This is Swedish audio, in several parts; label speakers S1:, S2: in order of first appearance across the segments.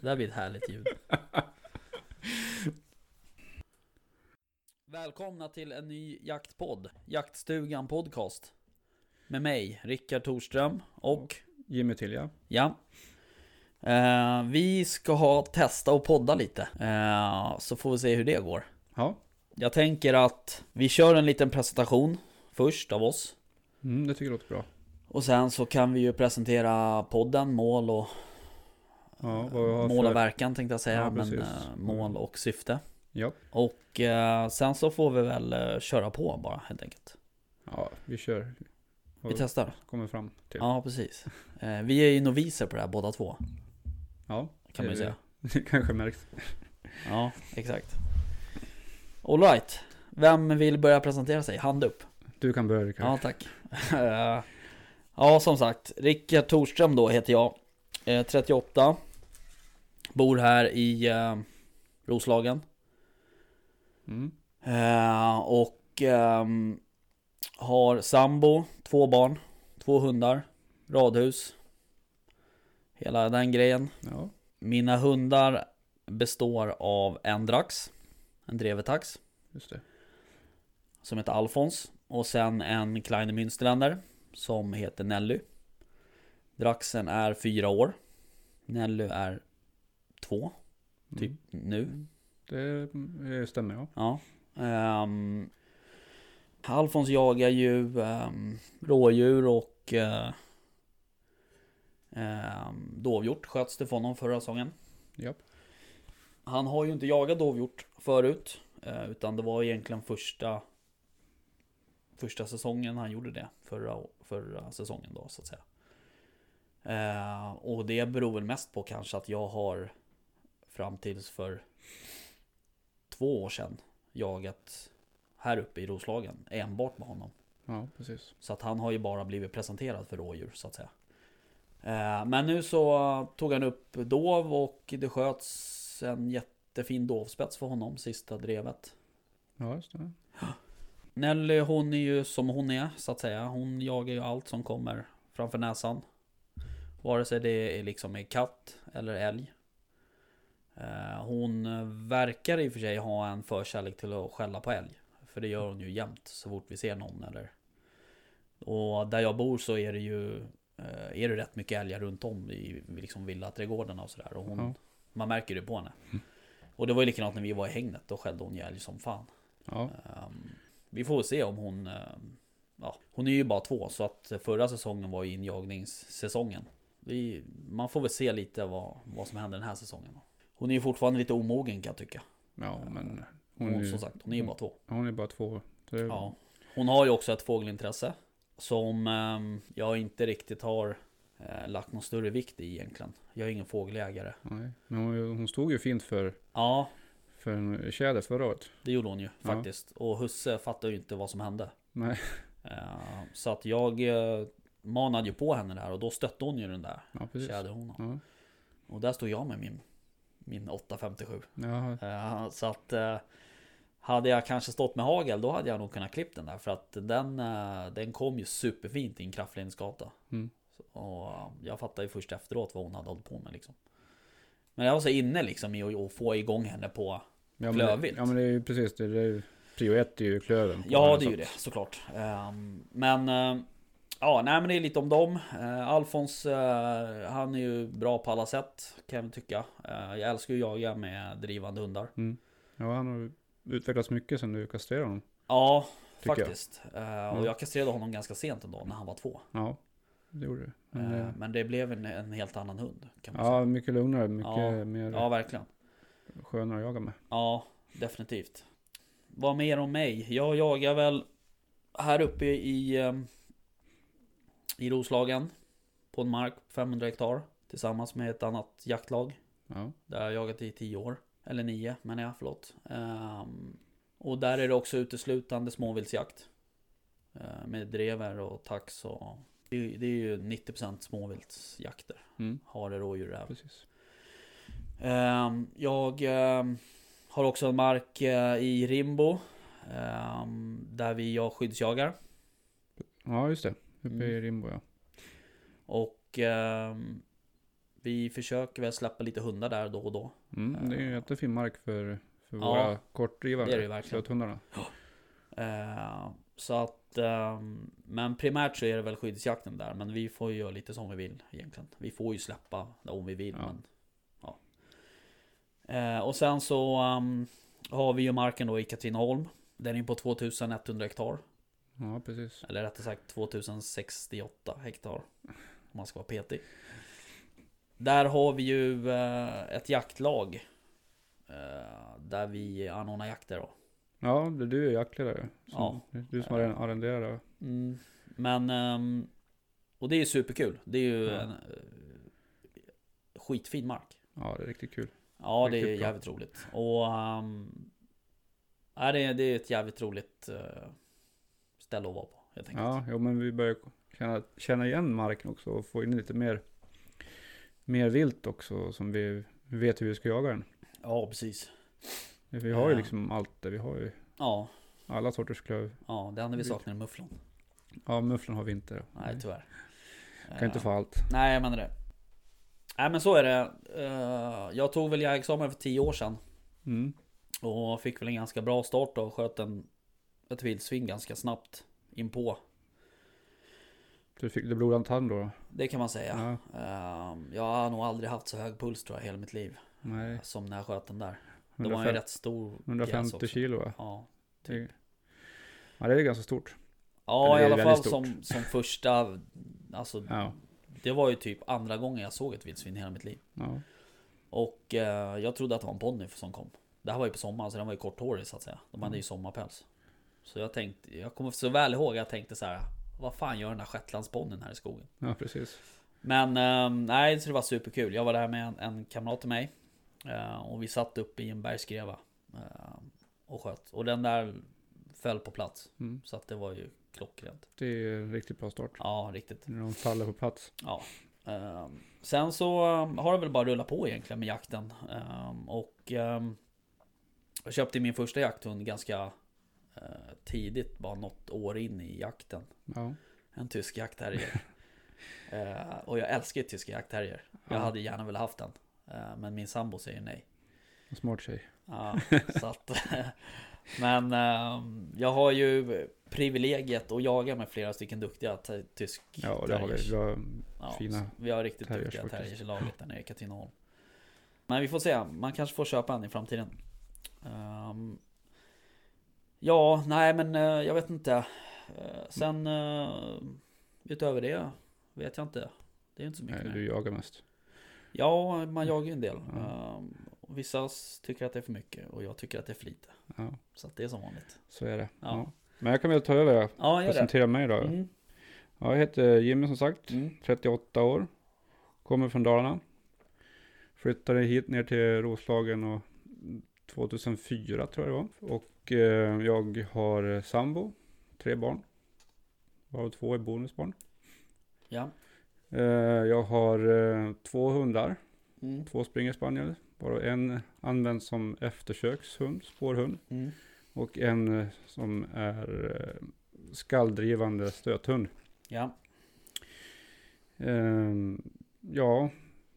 S1: Det här blir ett härligt ljud. Välkomna till en ny jaktpodd. Jaktstugan Podcast. Med mig, Rickard Torström och...
S2: Jimmy Tilja.
S1: Ja. Eh, vi ska testa och podda lite. Eh, så får vi se hur det går.
S2: Ja,
S1: Jag tänker att vi kör en liten presentation först av oss.
S2: mm, det tycker jag låter bra.
S1: Och sen så kan vi ju presentera podden, mål och
S2: Ja, vad vi har
S1: mål och
S2: för...
S1: verkan tänkte jag säga.
S2: Ja,
S1: men
S2: precis.
S1: eh, mål och syfte.
S2: Ja.
S1: Och eh, sen så får vi väl eh, köra på bara helt enkelt.
S2: ja, vi kör.
S1: Vi testar.
S2: Kommer fram till.
S1: Ja, precis. Eh, vi är ju noviser på det här båda två.
S2: Ja,
S1: Kan man ju
S2: det-
S1: säga.
S2: det kanske märks.
S1: Ja, exakt. Alright. Vem vill börja presentera sig? Hand upp.
S2: Du kan börja Rickard.
S1: Ja, tack. Eh, ja, som sagt. Rickard Torström då heter jag. Eh, 38. Bor här i eh, Roslagen.
S2: Mm.
S1: Eh, och ehm, har sambo, två barn, två hundar, radhus. Hela den grejen.
S2: Ja.
S1: Mina hundar består av en drax, en drevetax,
S2: Just det.
S1: som heter Alfons. Och sen en Kleine Münsterländer som heter Nelly. Draxen är fyra år. Nelly är två
S2: Mm.
S1: Typ. nu.
S2: Det eh, stämmer ja.
S1: Ja. Um, Alfons jagar ju ehm, rådjur och uh, ehm, dovhjort sköts det från honom förra säsongen.
S2: Japp.
S1: Han har ju inte jagat dovhjort förut. eh, utan det var egentligen första första säsongen han gjorde det. Förra, förra säsongen då så att säga. Eh, och det beror väl mest på kanske att jag har fram tills för två år sedan jagat här uppe i Roslagen enbart med honom.
S2: Ja, precis.
S1: Så att han har ju bara blivit presenterad för rådjur så att säga. Eh, Men nu så tog han upp dov och det sköts en jättefin dovspets för honom sista drevet.
S2: Ja, just det.
S1: Nelly hon är ju som hon är så att säga. Hon jagar ju allt som kommer framför näsan. Vare sig det är liksom är katt eller älg. Eh, Hon verkar i och för sig ha en förkärlek till att skälla på älg. För det gör hon ju jämt så fort vi ser någon eller. Och där jag bor så är det ju eh, är det rätt mycket älgar runt om i liksom villaträdgårdarna och sådär. Och hon,
S2: Ja.
S1: man märker det på henne. Och det var ju likadant när vi var i hägnet. Då skällde hon ju älg som fan.
S2: Ja,
S1: Ehm, vi får se om hon... ehm, ja, hon är ju bara två, så att förra säsongen var ju injagningssäsongen. Vi, man får väl se lite vad, vad som händer den här säsongen. Hon är ju fortfarande lite omogen kan jag tycka.
S2: ja men
S1: Hon,
S2: hon, är,
S1: som
S2: ju- Mm.
S1: sagt, hon är ju bara två.
S2: hon är bara två. Det,
S1: Ja. Hon har ju också ett fågelintresse. Som ehm, jag inte riktigt har eh, lagt någon större vikt i egentligen. Jag är ingen fågeljägare.
S2: Nej. Men hon, hon stod ju fint för,
S1: Ja,
S2: för en tjäder förra året.
S1: det gjorde hon ju
S2: Ja.
S1: faktiskt. Och husse fattar ju inte vad som hände.
S2: Nej,
S1: Eh, Så att jag eh, manade ju på henne där och då stötte hon ju den där
S2: ja precis.
S1: tjäderhonan.
S2: Ja.
S1: Och där stod jag med min, min 857.
S2: Ja,
S1: Eh, Så att eh, hade jag kanske stått med hagel då hade jag nog kunnat klippa den där. För att den, eh, den kom ju superfint i en kraftledningsgata.
S2: Mm.
S1: Och eh, jag fattade ju först efteråt vad hon hade hållit på med liksom. Men jag var så inne liksom i att- att få igång henne på
S2: Ja, men, det-
S1: Klövvilt.
S2: ja men det är ju precis det. det är, ju- prio ett är ju klöven. på
S1: Ja
S2: här,
S1: det
S2: så
S1: är ju det
S2: att-
S1: såklart. Ehm, Men eh, ja, nej men det är lite om dem. Eh, Alfons eh, han är ju bra på alla sätt kan jag väl tycka. Eh, Jag älskar ju att jaga med drivande hundar.
S2: Ja, han har utvecklats mycket sen du kastrerade honom.
S1: Ja
S2: Tycker jag.
S1: faktiskt. Eh, Och
S2: Mm.
S1: jag kastrerade honom ganska sent ändå när han var två.
S2: Ja, det gjorde du. Men,
S1: Eh,
S2: eh,
S1: Men det blev en, en helt annan hund. Kan man
S2: ja, mycket lugnare, mycket
S1: Ja,
S2: mer
S1: säga. ja verkligen.
S2: skönare att jaga med.
S1: Ja, definitivt. Vad mer om mig? Jag jagar väl här uppe i, ehm, i Roslagen. På en mark på 500 hektar. Tillsammans med ett annat jaktlag.
S2: Ja,
S1: Där jag har jagat i 10 år. Eller 9 men jag, förlåt. Ehm, och där är det också uteslutande småviltsjakt. Eh, med drever och tax och... Det, det är ju 90% småviltsjakter.
S2: mm,
S1: Hare, rådjur, räv.
S2: precis.
S1: Ehm, Jag ehm, har också en mark eh, i Rimbo ehm, Där vi jag skyddsjagar
S2: Ja, just det. Uppe
S1: Mm.
S2: i Rimbo, ja.
S1: Och ehm, vi försöker väl släppa lite hundar där då och då.
S2: Mm, det är ju en jättefin mark för, för
S1: Eh. Ja,
S2: våra kortdrivare.
S1: det är det ju verkligen.
S2: Slöthundarna.
S1: Eh, så att, ehm, men primärt så är det väl skyddsjakten där. Men vi får ju göra lite som vi vill egentligen. Vi får ju släppa om vi vill.
S2: Ja.
S1: Men, ja. Eh, och sen så ehm, har vi ju marken då i Katrineholm. Den är på 2100 hektar.
S2: Ja, precis.
S1: Eller rättare sagt 2068 hektar. Om man ska vara petig. Där har vi ju eh, ett jaktlag. eh, Där vi anordnar jakter då.
S2: Ja, det, du är jaktledare. Som,
S1: Ja. Eh.
S2: det är Du som har en arrenderare.
S1: Mm. Men, ehm, och det är superkul. Det är ju
S2: Ja.
S1: en eh, skitfin mark.
S2: Ja, det är riktigt kul.
S1: Ja, det är
S2: Riktigt bra.
S1: jävligt roligt. Och ehm, ja, det, är, det är ett jävligt roligt eh, ställe att vara på helt enkelt.
S2: Ja, jo, men vi börjar känna, känna igen marken också och få in lite mer, mer vilt också som vi vet hur vi ska jaga den.
S1: ja precis.
S2: Vi har ju
S1: Ja.
S2: liksom allt där. Vi har ju
S1: Ja,
S2: alla sorters klöv.
S1: ja, det enda vi
S2: Lite.
S1: saknar är mufflon.
S2: Ja, mufflon har vi inte.
S1: Nej, tyvärr.
S2: Mm. kan inte
S1: Eh,
S2: få allt.
S1: Nej, jag menar det. Nej, men så är det. Eh, jag tog väl jägarexamen för tio år sedan.
S2: Mm.
S1: Och fick väl en ganska bra start då. Sköt en, ett vildsvin ganska snabbt in på.
S2: Så du fick du blodad tand då?
S1: Det kan man säga.
S2: Ja.
S1: Ehm, jag har nog aldrig haft så hög puls tror jag hela mitt liv.
S2: Nej.
S1: Som när jag sköt den där. Då var han ju
S2: 150,
S1: rätt stor. pjäs
S2: 150
S1: också.
S2: kilo va?
S1: Ja,
S2: Det- Ja, det är ganska stort.
S1: ja
S2: det
S1: i
S2: är
S1: alla fall
S2: väldigt stort.
S1: som, som första. Alltså,
S2: Ja.
S1: Det var ju typ andra gången jag såg ett vildsvin i hela mitt liv.
S2: ja.
S1: Och eh, jag trodde att det var en ponny som kom. Det här var ju på sommaren så den var ju korthårig så att säga. De hade ju sommarpäls. Så jag tänkte, jag kommer så väl ihåg att jag tänkte så här. Vad fan gör den här shetlandsponnyn här i skogen?
S2: Ja, precis.
S1: Men eh, nej, så det var superkul. Jag var där med en, en kamrat till mig. Eh, och vi satt uppe i en bergskreva. Eh, och sköt. Och den där föll på plats.
S2: Mm.
S1: Så att det var ju klockrent.
S2: Det är en riktigt bra start.
S1: Ja, riktigt.
S2: När de faller på plats.
S1: Ja. Eh, sen så eh, har det väl bara rullat på egentligen med jakten. Eh, och eh, jag köpte min första jakthund ganska eh, tidigt. Bara något år in i jakten.
S2: Ja.
S1: En tysk jaktterrier. eh, och jag älskar ju tyska jaktterrier. Jag
S2: Ja.
S1: hade gärna velat haft den. Eh, men min sambo säger nej.
S2: En smart tjej.
S1: Ja, så att, men eh, jag har ju privilegiet att jaga med flera stycken duktiga t- tysk
S2: Ja, det har vi.
S1: terriers.
S2: Vi har
S1: Ja,
S2: fina
S1: så Vi har riktigt
S2: terriers
S1: duktiga
S2: faktiskt.
S1: terriers i laget där nere i Katrineholm. Men vi får se, man kanske får köpa en i framtiden. Ehm, ja, nej men eh, jag vet inte. Eh, sen eh, utöver det vet jag inte. Det är inte så mycket
S2: Nej,
S1: mer.
S2: du jagar mest.
S1: Ja, man jagar ju en del.
S2: Ja.
S1: Ehm, och vissa s- tycker att det är för mycket och jag tycker att det är för lite.
S2: Ja,
S1: Så att det är som vanligt.
S2: så är det.
S1: Ja.
S2: Ja. Men jag kan väl ta över och
S1: Ja, gör det.
S2: presentera mig då.
S1: Mm.
S2: Ja, jag heter Jimmy som sagt.
S1: Mm.
S2: 38 år. Kommer från Dalarna. Flyttade hit ner till Roslagen och 2004 tror jag det var. Och eh, jag har sambo, tre barn. Varav två är bonusbarn.
S1: Ja.
S2: Eh, jag har eh, två hundar,
S1: Mm.
S2: två springerspaniel. Varav en används som eftersökshund, spårhund.
S1: Mm.
S2: Och en eh, som är eh, skalldrivande stöthund.
S1: Ja.
S2: Ehm, ja,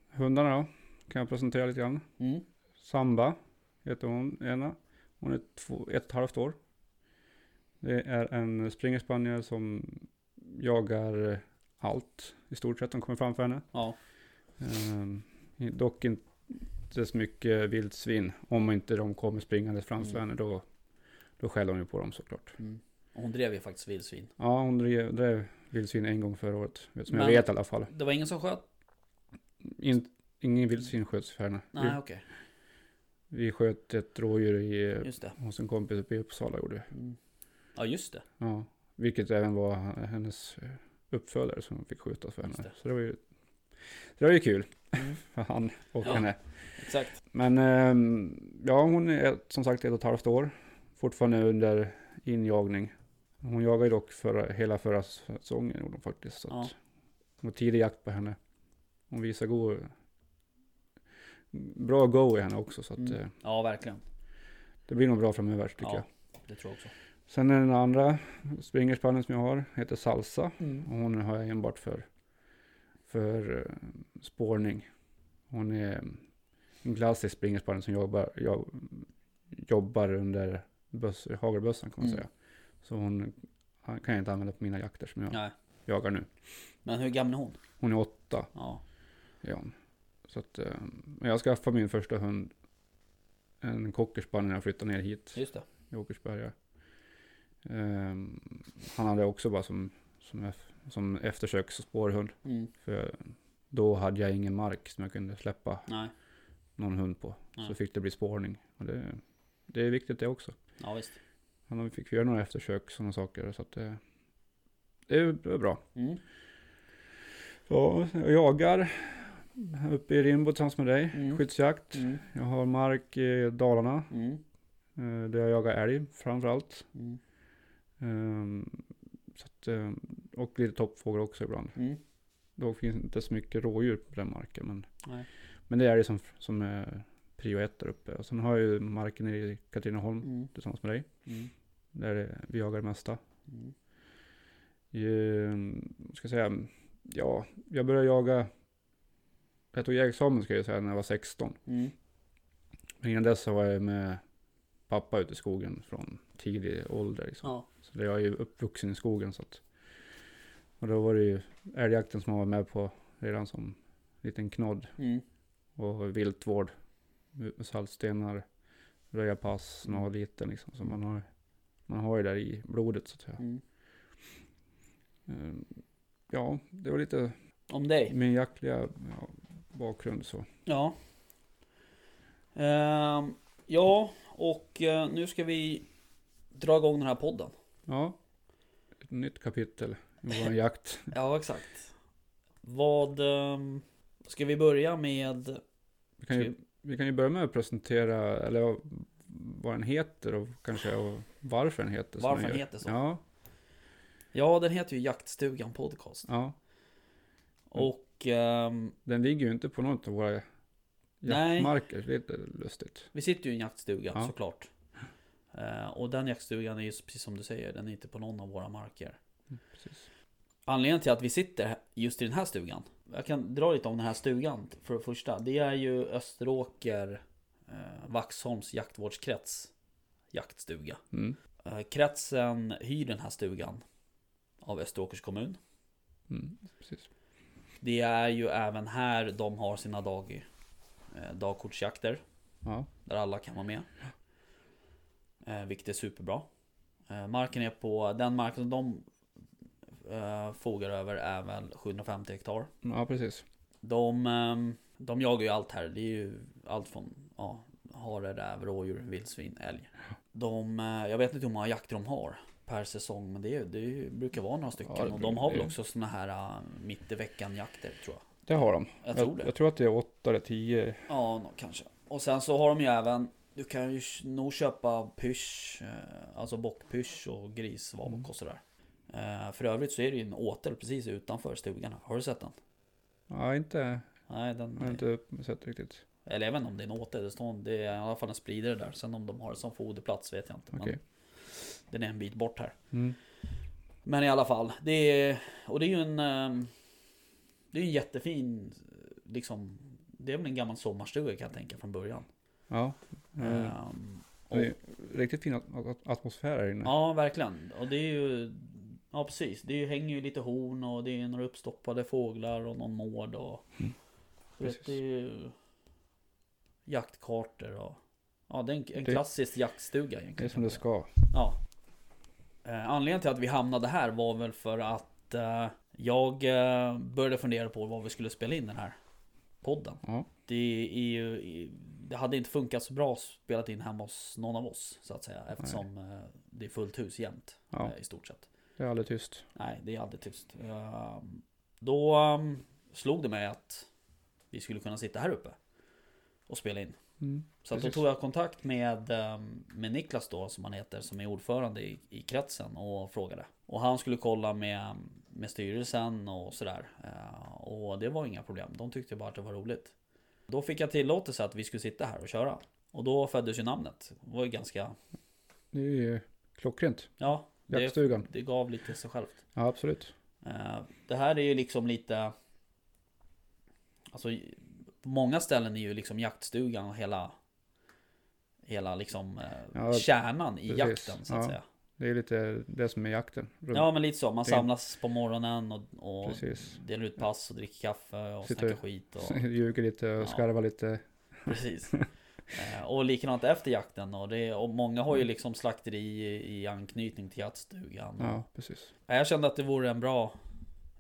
S2: hundarna då, kan jag presentera lite grann.
S1: Mm.
S2: Samba heter hon, ena. Hon är två, ett och ett halvt år. Det är en springerspaniel som jagar allt i stort sett som kommer framför henne.
S1: Ja.
S2: Ehm, dock inte så mycket vildsvin. Om inte de kommer springandes framför
S1: Mm.
S2: henne då, då skäller hon ju på dem såklart.
S1: Mm. Och Hon drev ju faktiskt vildsvin.
S2: Ja, hon drev, drev vildsvin en gång förra året. Som jag
S1: Men-
S2: vet i alla fall.
S1: Det var ingen som sköt?
S2: In, ingen vildsvin sköts för henne.
S1: Nej,
S2: Vi,
S1: okej.
S2: vi sköt ett rådjur i,
S1: Just det.
S2: hos en kompis uppe i Uppsala gjorde vi.
S1: Mm. Ja, just det.
S2: Ja, vilket även var hennes eh, uppfödare som fick skjutas för henne.
S1: Just det.
S2: Så det var ju, så det var ju kul
S1: Mm.
S2: för han och
S1: Ja.
S2: henne.
S1: Exakt.
S2: Men ehm, ja, hon är ett- som sagt ett och ett halvt år. Fortfarande under injagning. Hon jagade ju dock förra, hela förra säsongen gjorde hon faktiskt. Så
S1: Ja.
S2: att, det var tidig jakt på henne. Hon visar god... Bra go i henne också. Så att,
S1: Mm.
S2: eh,
S1: Ja, verkligen.
S2: Det blir nog bra framöver tycker
S1: Ja,
S2: jag.
S1: det tror jag också.
S2: Sen är den andra springerspannen som jag har, heter Salsa.
S1: Mm.
S2: Och hon har jag enbart för, för eh, spårning. Hon är en klassisk springerspaniel som jobbar, jobb, jobbar under böss, hagelbössan kan man
S1: Mm.
S2: säga. Så hon han kan jag inte använda på mina jakter som jag
S1: Nej.
S2: jagar nu.
S1: Men hur gammal är hon?
S2: Hon är åtta.
S1: Ja.
S2: Ja. Så att, eh, men jag skaffade min första hund, en cockerspaniel, när jag flyttade ner hit
S1: Just det.
S2: i Åkersberga. Ehm, han hade jag också bara som, som, eff- som eftersöks och spårhund.
S1: Mm.
S2: För då hade jag ingen mark som jag kunde släppa
S1: Nej.
S2: någon hund på. Så
S1: Nej.
S2: fick det bli spårning. Och det, det är viktigt det också.
S1: Ja visst.
S2: Han fick göra några eftersök och sådana saker. Så att det, det är- det är bra.
S1: Mm.
S2: Ja, jag jagar här uppe i Rimbo tillsammans med dig.
S1: Mm.
S2: Skyddsjakt.
S1: Mm.
S2: Jag har mark i Dalarna.
S1: Mm.
S2: eh, Där jag jagar älg framförallt.
S1: Mm.
S2: Ehm, Så att, eh, och lite toppfågel också ibland.
S1: Mm.
S2: Då finns det inte så mycket rådjur på den marken. Men,
S1: Nej.
S2: men det är det som, som är prio ett där uppe. Och sen har jag ju marken i Katrineholm
S1: Mm.
S2: tillsammans med dig.
S1: Mm.
S2: Där det- vi jagar det mesta.
S1: Mm.
S2: Ehm, ska jag säga, ja, jag började jaga. Jag tog jägarexamen ska jag säga när jag var 16.
S1: Mm.
S2: Men innan dess så var jag med pappa ute i skogen från tidig ålder. Liksom.
S1: Ja.
S2: Så det- jag är ju uppvuxen i skogen. Så att, och då var det ju älgjakten som man var med på redan som liten knodd.
S1: Mm.
S2: och viltvård. Saltstenar, röja pass när man var liten liksom. Så man har, man har ju där i blodet så att säga.
S1: Mm.
S2: Ehm, Ja, det var lite
S1: Om dig.
S2: min jaktliga ja, bakgrund så.
S1: Ja. Ehm, ja, och eh, nu ska vi dra igång den här podden.
S2: Ja, ett nytt kapitel i vår jakt.
S1: Ja, exakt. Vad... ehm, ska vi börja med...
S2: Vi kan, ju,
S1: Ska
S2: vi kan ju börja med att presentera, eller vad den heter och kanske och varför den heter som
S1: Varför
S2: gör.
S1: den heter så.
S2: Ja,
S1: Ja, den heter ju Jaktstugan Podcast.
S2: ja.
S1: Och ehm,
S2: Den ligger ju inte på något av våra
S1: Nej.
S2: jaktmarker. Det är lite lustigt.
S1: vi sitter ju i en jaktstuga
S2: Ja.
S1: såklart. Eh, och den jaktstugan är ju precis som du säger, den är inte på någon av våra marker.
S2: Mm, Precis.
S1: Anledningen till att vi sitter här- just i den här stugan. Jag kan dra lite om den här stugan för det första. Det är ju Österåker eh, Vaxholms jaktvårdskrets jaktstuga.
S2: Mm.
S1: Eh, kretsen hyr den här stugan av Österåkers kommun.
S2: Mm. Precis.
S1: Det är ju även här de har sina dag, eh, dagkortsjakter.
S2: Ja.
S1: Där alla kan vara med. Eh, vilket är superbra. Eh, marken är på, den marken som de eh, fogar över är väl 750 hektar.
S2: Ja, precis.
S1: De, ehm, de jagar ju allt här. Det är ju allt från ja, hare, räv, rådjur, vildsvin, älg. De, eh, jag vet inte hur många jakter de har per säsong men det, är, det brukar vara några stycken.
S2: Ja, det
S1: och de
S2: brukar
S1: har väl
S2: det.
S1: också såna här eh, mitt i veckan jakter tror jag.
S2: Det har de.
S1: Jag tror det.
S2: Jag, tror att det är åtta eller tio.
S1: Ja, nå- kanske. Och sen så har de ju även Du kan ju sh- nog köpa pysch eh, Alltså bockpysch och grisvak
S2: Mm.
S1: och sådär Eh, För övrigt så är det ju en åtel precis utanför stugan Har du sett den?
S2: Ja, inte.
S1: Nej, den
S2: Jag har inte sett riktigt.
S1: Eller jag vet inte om det är en åtel Det, står, det är i alla fall en spridare där Sen om de har det som foderplats vet jag inte
S2: Okej.
S1: Men den är en bit bort här
S2: Mm.
S1: Men i alla fall det är, Och det är ju en eh, Det är ju en jättefin Liksom Det är väl en gammal sommarstuga kan jag tänka från början
S2: Ja. Mm.
S1: Ehm,
S2: Det är riktigt fin at- at- atmosfär här inne.
S1: Ja, verkligen. Och det är ju... Ja, precis. Det är ju, hänger ju lite horn och det är några uppstoppade fåglar och någon mård och...
S2: Mm.
S1: Du vet,
S2: Precis.
S1: det är ju... Jaktkartor och... Ja, det är en, en
S2: Det-
S1: klassisk jaktstuga egentligen.
S2: Det är
S1: kan
S2: som
S1: man
S2: det
S1: säga.
S2: ska.
S1: Ja. Eh, Anledningen till att vi hamnade här var väl för att eh, jag eh, började fundera på vad vi skulle spela in den här podden.
S2: Ja.
S1: Det, är ju, i- det hade inte funkat så bra spelat in hemma hos någon av oss så att säga eftersom eh, det är fullt hus jämt
S2: Ja.
S1: eh, i stort sett.
S2: Det är alldeles tyst.
S1: Nej, det är aldrig tyst. Eh, Då eh, slog det mig att vi skulle kunna sitta här uppe och spela in.
S2: Mm.
S1: Så att då
S2: Precis.
S1: tog jag kontakt med, ehm, med Niklas då som han heter som är ordförande i, i kretsen och frågade. Och han skulle kolla med, med styrelsen och sådär. Eh, Och det var inga problem. De tyckte bara att det var roligt. Då fick jag tillåtelse att vi skulle sitta här och köra. Och då föddes ju namnet. Det var ju ganska...
S2: Det är ju klockrent.
S1: Ja, det,
S2: Jaktstugan.
S1: det gav lite sig självt.
S2: Ja, absolut.
S1: Eh, Det här är ju liksom lite Alltså På många ställen är ju liksom jaktstugan och hela Hela liksom eh,
S2: Ja,
S1: kärnan i
S2: precis.
S1: jakten så att
S2: Ja.
S1: säga
S2: Det är lite det som är jakten. Runt.
S1: Ja men lite så, man
S2: Det-
S1: samlas på morgonen och, och
S2: Precis.
S1: delar ut pass och dricker kaffe och
S2: Sitter-
S1: snackar skit och
S2: Ljuger lite och
S1: Ja.
S2: skarvar lite.
S1: Precis. Eh, Och likadant efter jakten då. Det är, och många har ju liksom slakteri i, i anknytning till jaktstugan.
S2: Mm. Ja, precis.
S1: Ja, Jag kände att det vore en bra,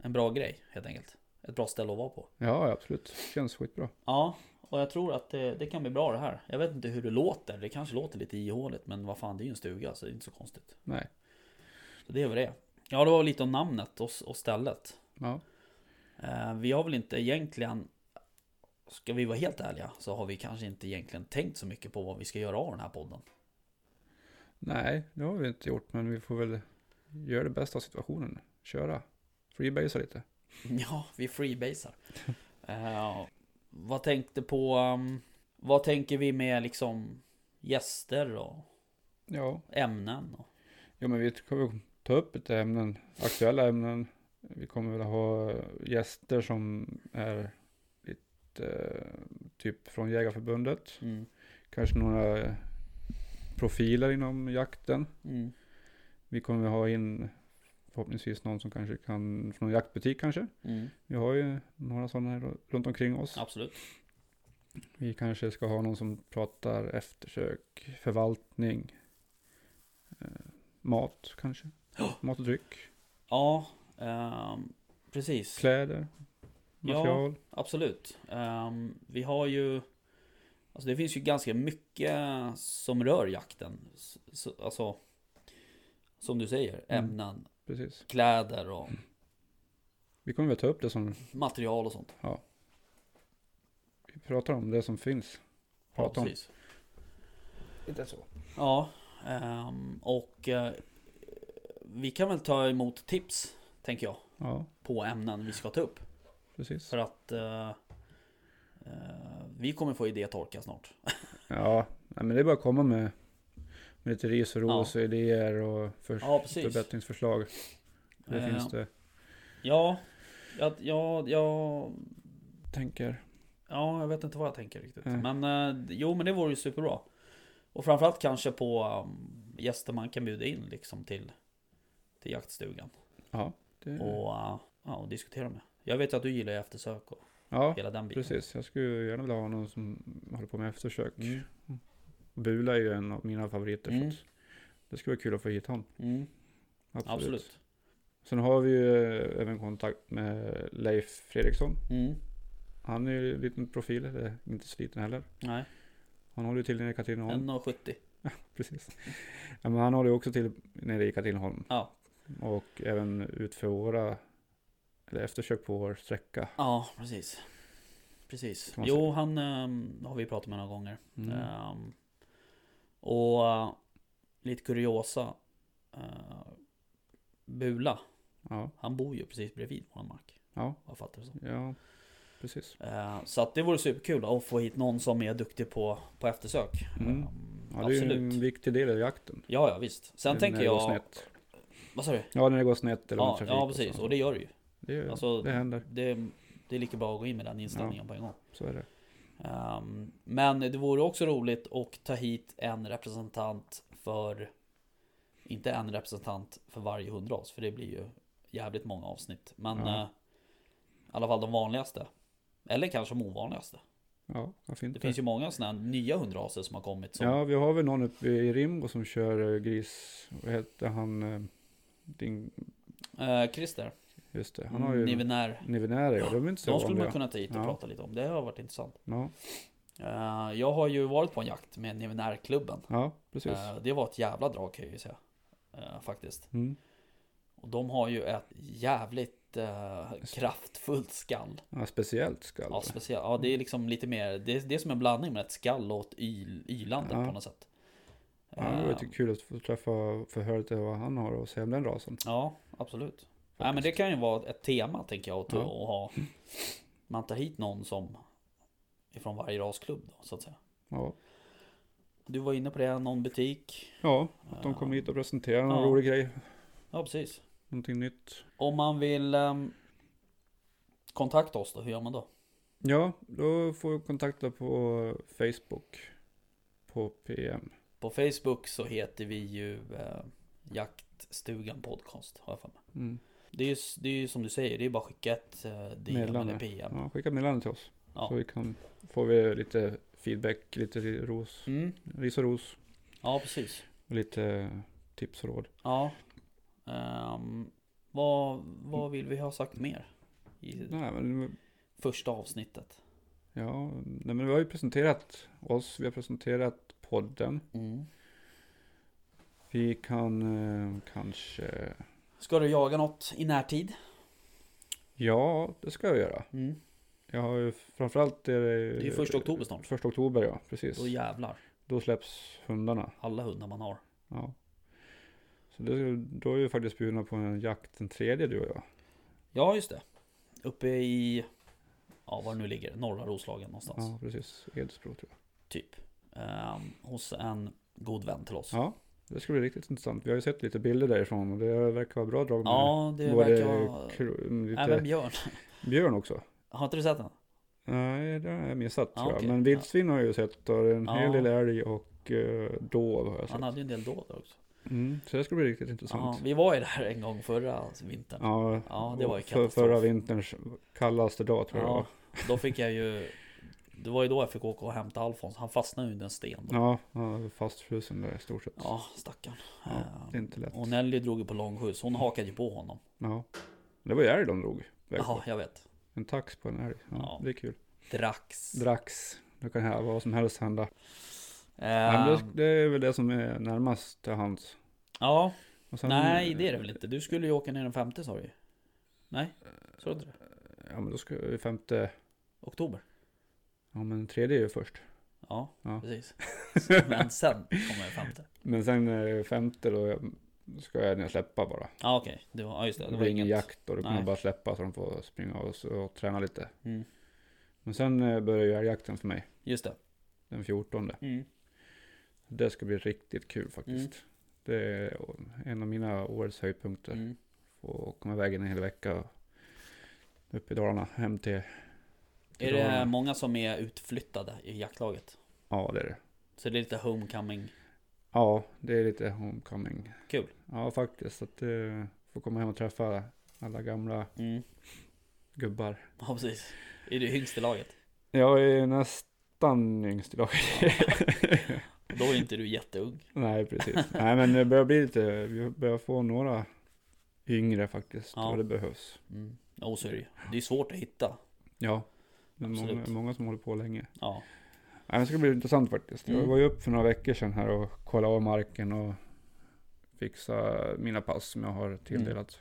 S1: en bra grej helt enkelt. Ett bra ställe att vara på.
S2: Ja, ja, absolut. Känns skitbra.
S1: Ja, och jag tror att det, det kan bli bra det här. Jag vet inte hur det låter. Det kanske låter lite ihåligt, men vad fan, det är ju en stuga så det är inte så konstigt.
S2: Nej.
S1: Så det är väl det. Ja, det var väl lite om namnet och, s- och stället.
S2: Ja,
S1: Eh, Vi har väl inte egentligen, ska vi vara helt ärliga, så har vi kanske inte egentligen tänkt så mycket på vad vi ska göra av den här podden.
S2: nej, det har vi inte gjort, men vi får väl göra det bästa av situationen. Köra. Freebasea lite.
S1: Ja, vi freebasar. Eh, vad tänkte på... ehm, vad tänker vi med liksom gäster och
S2: Ja,
S1: ämnen? Och,
S2: ja men vi kommer ta upp lite ämnen, aktuella ämnen. Vi kommer väl ha gäster som är lite eh, typ från Jägarförbundet.
S1: mm,
S2: Kanske några eh, profiler inom jakten.
S1: mm,
S2: Vi kommer ha in förhoppningsvis någon som kanske kan, från en jaktbutik kanske.
S1: mm,
S2: Vi har ju några sådana här ru- runt omkring oss.
S1: absolut.
S2: Vi kanske ska ha någon som pratar eftersök, förvaltning, eh, mat kanske.
S1: Ja.
S2: Mat och dryck,
S1: Ja, ehm, precis.
S2: kläder,
S1: Ja.
S2: material.
S1: Absolut. Ehm, vi har ju... Alltså det finns ju ganska mycket som rör jakten. S- Så, alltså... Som du säger,
S2: Mm.
S1: ämnen,
S2: Precis.
S1: kläder och
S2: Vi kommer väl ta upp det som
S1: material och sånt.
S2: vi pratar om, det som finns. Prata om.
S1: precis.
S2: Inte så.
S1: Ja, ehm, och eh, vi kan väl ta emot tips, tänker jag,
S2: Ja,
S1: på ämnen vi ska ta upp.
S2: precis.
S1: För att eh, eh, vi kommer få idétorka snart.
S2: Ja, nej, men det är bara att komma med, med lite ris och
S1: Ja.
S2: ros och idéer och för,
S1: Ja, precis.
S2: förbättringsförslag. Det
S1: Eh,
S2: finns det.
S1: Ja, jag, jag, jag,
S2: Tänker.
S1: ja, jag vet inte vad jag tänker riktigt.
S2: Nej.
S1: Men eh, jo, men det vore ju superbra. Och framförallt kanske på um, gäster man kan bjuda in liksom till, till jaktstugan.
S2: Ja, det,
S1: Och, eh, ja, och diskutera med. Jag vet att du gillar ju eftersök och
S2: ja
S1: hela den biten.
S2: precis. Jag skulle ju gärna vilja ha någon som håller på med eftersök.
S1: Mm.
S2: Bula är ju en av mina favoriter.
S1: Mm.
S2: Så att det skulle vara kul att få hit honom.
S1: Mm,
S2: Absolut.
S1: absolut.
S2: Sen har vi ju eh, även kontakt med Leif Fredriksson.
S1: Mm.
S2: Han är ju en liten profil, eller inte så liten heller.
S1: Nej,
S2: Han håller ju till nere i Katrineholm.
S1: 1,70.
S2: Precis. Ja, men han håller ju också till nere i Katrineholm.
S1: Ja.
S2: Och även utför våra, eller eftersök på vår sträcka.
S1: Ja, precis. Precis.
S2: Kan man
S1: Jo,
S2: säga.
S1: han ehm, har vi pratat med några gånger.
S2: Mm.
S1: Ehm, och eh, lite kuriosa. eh, Bula,
S2: Ja,
S1: han bor ju precis bredvid våran mark.
S2: Ja.
S1: Vad jag fattar det som.
S2: ja, precis.
S1: Eh, så att det vore superkul att få hit någon som är duktig på, på eftersök.
S2: Mm.
S1: Ehm,
S2: Ja, det är ju
S1: absolut.
S2: en viktig del av jakten.
S1: Ja, ja, visst. Sen
S2: När
S1: tänker
S2: det går
S1: jag...
S2: Snett.
S1: Vad sa du?
S2: Ja, när det går snett eller
S1: Ja,
S2: ja, trafik
S1: ja, precis.
S2: så.
S1: Och det gör det ju.
S2: det,
S1: alltså,
S2: det händer,
S1: Det, det är lika bra att gå in med den inställningen på en gång.
S2: så är det.
S1: Ehm, men det vore också roligt att ta hit en representant för Inte en representant för varje hundras för det blir ju jävligt många avsnitt Men
S2: Ja.
S1: eh, i alla fall de vanligaste Eller kanske de ovanligaste
S2: Ja, vad fint.
S1: Det finns ju många sådana här nya hundraser som har kommit som,
S2: Ja, vi har väl någon uppe i Rimbo som kör eh, gris. Vad heter han? eh, Din,
S1: eh, Christer,
S2: just det, han har ju
S1: Nivenär
S2: Nivenära. Ja, de är inte så
S1: De skulle
S2: vanliga.
S1: man kunna ta hit och
S2: Ja.
S1: prata lite om, det har varit intressant
S2: Ja,
S1: Eh, Jag har ju varit på en jakt med Nivenärklubben
S2: ja precis.
S1: Eh, Det var ett jävla drag kan jag ju säga eh, Faktiskt
S2: Mm.
S1: Och de har ju ett jävligt eh, kraftfullt skall.
S2: Ja, speciellt skall.
S1: Ja, speciellt. ja, det är liksom lite mer, det är, det är som en blandning med ett skall och ett yl, ylande
S2: Ja.
S1: på något sätt.
S2: Ja, det var lite
S1: Eh,
S2: kul att få träffa förhöret vad han har och se om den rasen.
S1: Ja, absolut. Nej, men det kan ju vara ett tema tänker jag att
S2: Ja.
S1: att ha. Man tar hit någon som ifrån varje rasklubb då, så att säga.
S2: Ja,
S1: Du var inne på det, någon butik.
S2: ja att de kommer
S1: Eh,
S2: hit och presenterar någon
S1: Ja.
S2: rolig grej,
S1: Ja, precis.
S2: någonting nytt.
S1: Om man vill ehm, kontakta oss då, hur gör man då?
S2: Ja, då får jag kontakta på Facebook. På PM.
S1: På Facebook så heter vi ju eh, Jaktstugan Podcast har jag för mig.
S2: Mm.
S1: Det är, ju, det är ju som du säger, det är bara att skicka ett eh, DM
S2: Meddelande.
S1: eller PM.
S2: Ja, skicka meddelande till oss.
S1: Ja.
S2: Så vi kan, får vi lite feedback, lite ros,
S1: Mm.
S2: ris och ros.
S1: Ja, precis.
S2: Och lite tips och råd.
S1: Ja. Ehm, vad, vad vill vi ha sagt mer? I
S2: Nej, men,
S1: första avsnittet.
S2: ja, nej, men vi har ju presenterat oss. Vi har presenterat podden.
S1: Mm.
S2: Vi kan eh, kanske...
S1: Ska du jaga något i närtid? Mm.
S2: Ja, det ska jag göra. Jag har ju framförallt... Det
S1: Det är ju första oktober snart.
S2: Första oktober, ja. Precis.
S1: Då jävlar.
S2: Då släpps hundarna.
S1: Alla hundar man har.
S2: Ja. Så det, då är vi faktiskt bjudna på en jakt den tredje du och jag.
S1: Ja, just det. Uppe i, ja var det nu ligger, norra Roslagen någonstans.
S2: Ja, precis. Edsbro tror jag.
S1: Typ. Ehm, hos en god vän till oss.
S2: Ja, det ska bli riktigt intressant. Vi har ju sett lite bilder därifrån och det verkar vara bra drag med
S1: Ja, det
S2: både
S1: verkar vara...
S2: kro- mm, lite
S1: Även Björn.
S2: björn också.
S1: Har inte du sett den?
S2: Nej, det har jag missat
S1: Ja,
S2: tror
S1: okej.
S2: jag. Men vildsvin har jag ju sett och en
S1: Ja.
S2: hel del älg och eh, dov har jag
S1: Han
S2: sett.
S1: hade ju en del dåd också.
S2: Mm, så det ska bli riktigt
S1: Ja,
S2: intressant.
S1: vi var ju där en gång förra vintern.
S2: Ja,
S1: Ja, det var ju
S2: och för,
S1: katastrof.
S2: Förra vinterns kallaste dag tror jag det
S1: Ja,
S2: var.
S1: då fick jag ju... Det var ju då jag fick åka och hämta Alfons. Han fastnade under en sten. Då.
S2: Ja, ja fastfrusen där i stort sett.
S1: Ja, stackarn.
S2: Ja,
S1: Ehm,
S2: det är inte lätt.
S1: Och Nelly drog ju på långskjuts. Hon hakade ju på honom.
S2: Ja. Det var ju älg de drog.
S1: Jaha, jag vet.
S2: En tax på en älg. Ja,
S1: Ja.
S2: Det är kul.
S1: Drax.
S2: Drax. Det kan här vad som helst hända. Nej, men
S1: Ehm,
S2: det, det är väl det som är närmast till hands.
S1: Ja,
S2: Och sen-
S1: nej det är det väl inte. Du skulle ju åka ner den femte sa du ju. Nej, sa du inte det?
S2: Ja men då ska vi femte,
S1: Oktober?
S2: ja men tredje är ju först.
S1: Ja,
S2: Ja.
S1: precis. Men sen kommer den femte.
S2: Men sen eh, femte då ska jag ner och släppa bara.
S1: Ja okej, det var, ja, just det.
S2: det
S1: Det var
S2: ingen
S1: inget.
S2: jakt och då kan
S1: Nej.
S2: man bara släppa så de får springa och, så- och träna lite.
S1: Mm,
S2: Men sen eh, börjar ju älgjakten för mig,
S1: just det.
S2: den 14.
S1: Mm.
S2: Det ska bli riktigt kul faktiskt. Det är en av mina årets höjdpunkter.
S1: Mm.
S2: Få komma iväg en hel vecka upp i Dalarna, hem till... till
S1: Är det
S2: Dalarna.
S1: många som är utflyttade i jaktlaget?
S2: Ja det är det.
S1: Så det är lite homecoming.
S2: Ja, det är lite homecoming.
S1: Kul.
S2: Ja, faktiskt. Att eh, få komma hem och träffa alla gamla
S1: Mm.
S2: gubbar.
S1: Ja precis. Är du yngst i laget?
S2: Jag är nästan yngst idag.
S1: Då är inte du jätteung.
S2: Nej, precis. Nej, men det börjar bli lite, vi börjar få några yngre faktiskt.
S1: Ja.
S2: Och det behövs.
S1: Mm. Ja, så är det ju. Det är svårt att hitta.
S2: Ja. Det är många,
S1: Absolut.
S2: många som håller på länge.
S1: Ja.
S2: Nej, men det ska bli intressant faktiskt. Jag
S1: Mm.
S2: var ju upp för några veckor sedan här och kollade av marken och fixa mina pass som jag har tilldelat.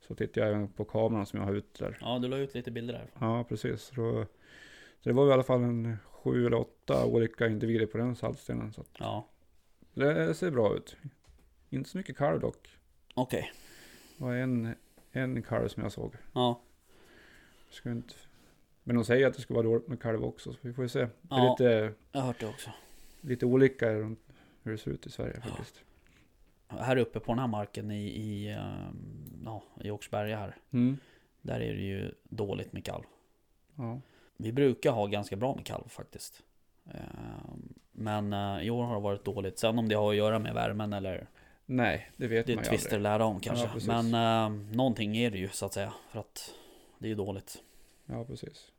S2: Så tittar jag även på kameran som jag har ute där.
S1: ja, du la ut lite bilder därifrån.
S2: Ja, precis. Så, då, så det var i alla fall en sju eller åtta olika individer på den saltstenen. Så att
S1: Ja,
S2: det ser bra ut. Inte så mycket kalv dock.
S1: okej.
S2: Det var en, en kalv som jag såg.
S1: Ja.
S2: Ska inte... Men de säger att det ska vara dåligt med kalv också, så vi får ju se. Det är
S1: Ja.
S2: lite,
S1: Jag har hört det också.
S2: lite olika runt hur det ser ut i Sverige faktiskt.
S1: Här uppe på den här marken i, i, ehm, ja, i Åkersberga här.
S2: Mm.
S1: Där är det ju dåligt med kalv.
S2: Ja.
S1: Vi brukar ha ganska bra med kalv faktiskt. Ehm, Men eh, i år har det varit dåligt. Sen om det har att göra med värmen eller
S2: Nej, det vet
S1: det är
S2: man ju
S1: tvister
S2: aldrig.
S1: att lära om kanske.
S2: Ja, precis.
S1: Men eh, någonting är det ju så att säga. För att det är ju dåligt.
S2: Ja, precis.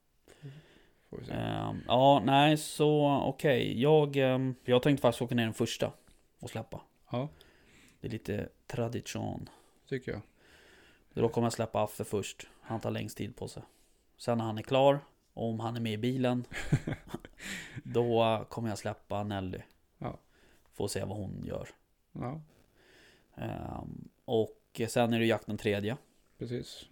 S2: Får vi se.
S1: Ehm, Ja, nej så okej. Jag, ehm, jag tänkte faktiskt åka ner den första och släppa.
S2: Ja,
S1: Det är lite tradition.
S2: tycker jag.
S1: Så Då kommer jag släppa Affe först. Han tar längst tid på sig. Sen när han är klar, och om han är med i bilen, då kommer jag släppa Nelly.
S2: Ja.
S1: Får se vad hon gör.
S2: Ja,
S1: Ehm, och sen är det jakt den tredje.
S2: precis.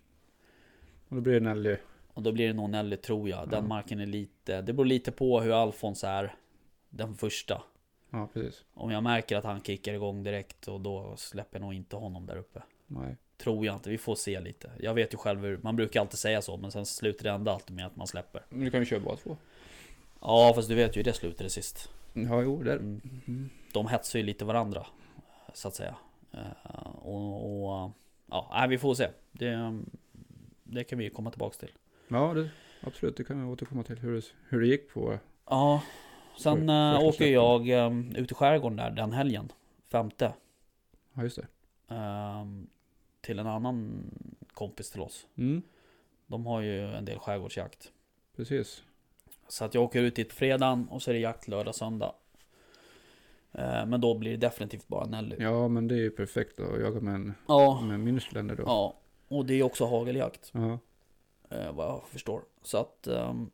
S2: Och då blir det Nelly.
S1: Och då blir det nog Nelly tror jag. Den
S2: Ja.
S1: marken är lite, det beror lite på hur Alfons är den första.
S2: Ja, precis.
S1: Om jag märker att han kickar igång direkt och då släpper jag nog inte honom där uppe.
S2: Nej.
S1: Tror jag inte, vi får se lite. Jag vet ju själv hur, man brukar alltid säga så men sen slutar det ändå alltid med att man släpper.
S2: Men du kan ju köra båda två.
S1: Ja fast du vet ju hur det slutade sist.
S2: Ja, jo, det är det.
S1: Mm.
S2: Mm.
S1: De hetsar ju lite varandra. Så att säga. Eh, Och, och ja, nej, vi får se. Det, det kan vi ju komma tillbaks till.
S2: Ja, det, Absolut, det kan vi återkomma till hur det, hur det gick på.
S1: Ja, sen
S2: För-
S1: eh,
S2: första
S1: åker
S2: släppen.
S1: jag um, ut i skärgården där den helgen, femte,
S2: Ja, just det.
S1: ehm, till en annan kompis till oss.
S2: Mm,
S1: De har ju en del skärgårdsjakt.
S2: precis.
S1: Så att jag åker ut dit på fredagen och så är det jakt lördag, söndag. Eh, men då blir det definitivt bara Nelly. Ja,
S2: Ja, men det är ju perfekt att jaga med en,
S1: ja,
S2: med en minnesländer då.
S1: och det är också hageljakt,
S2: Ja.
S1: eh, vad jag förstår. Så att ehm,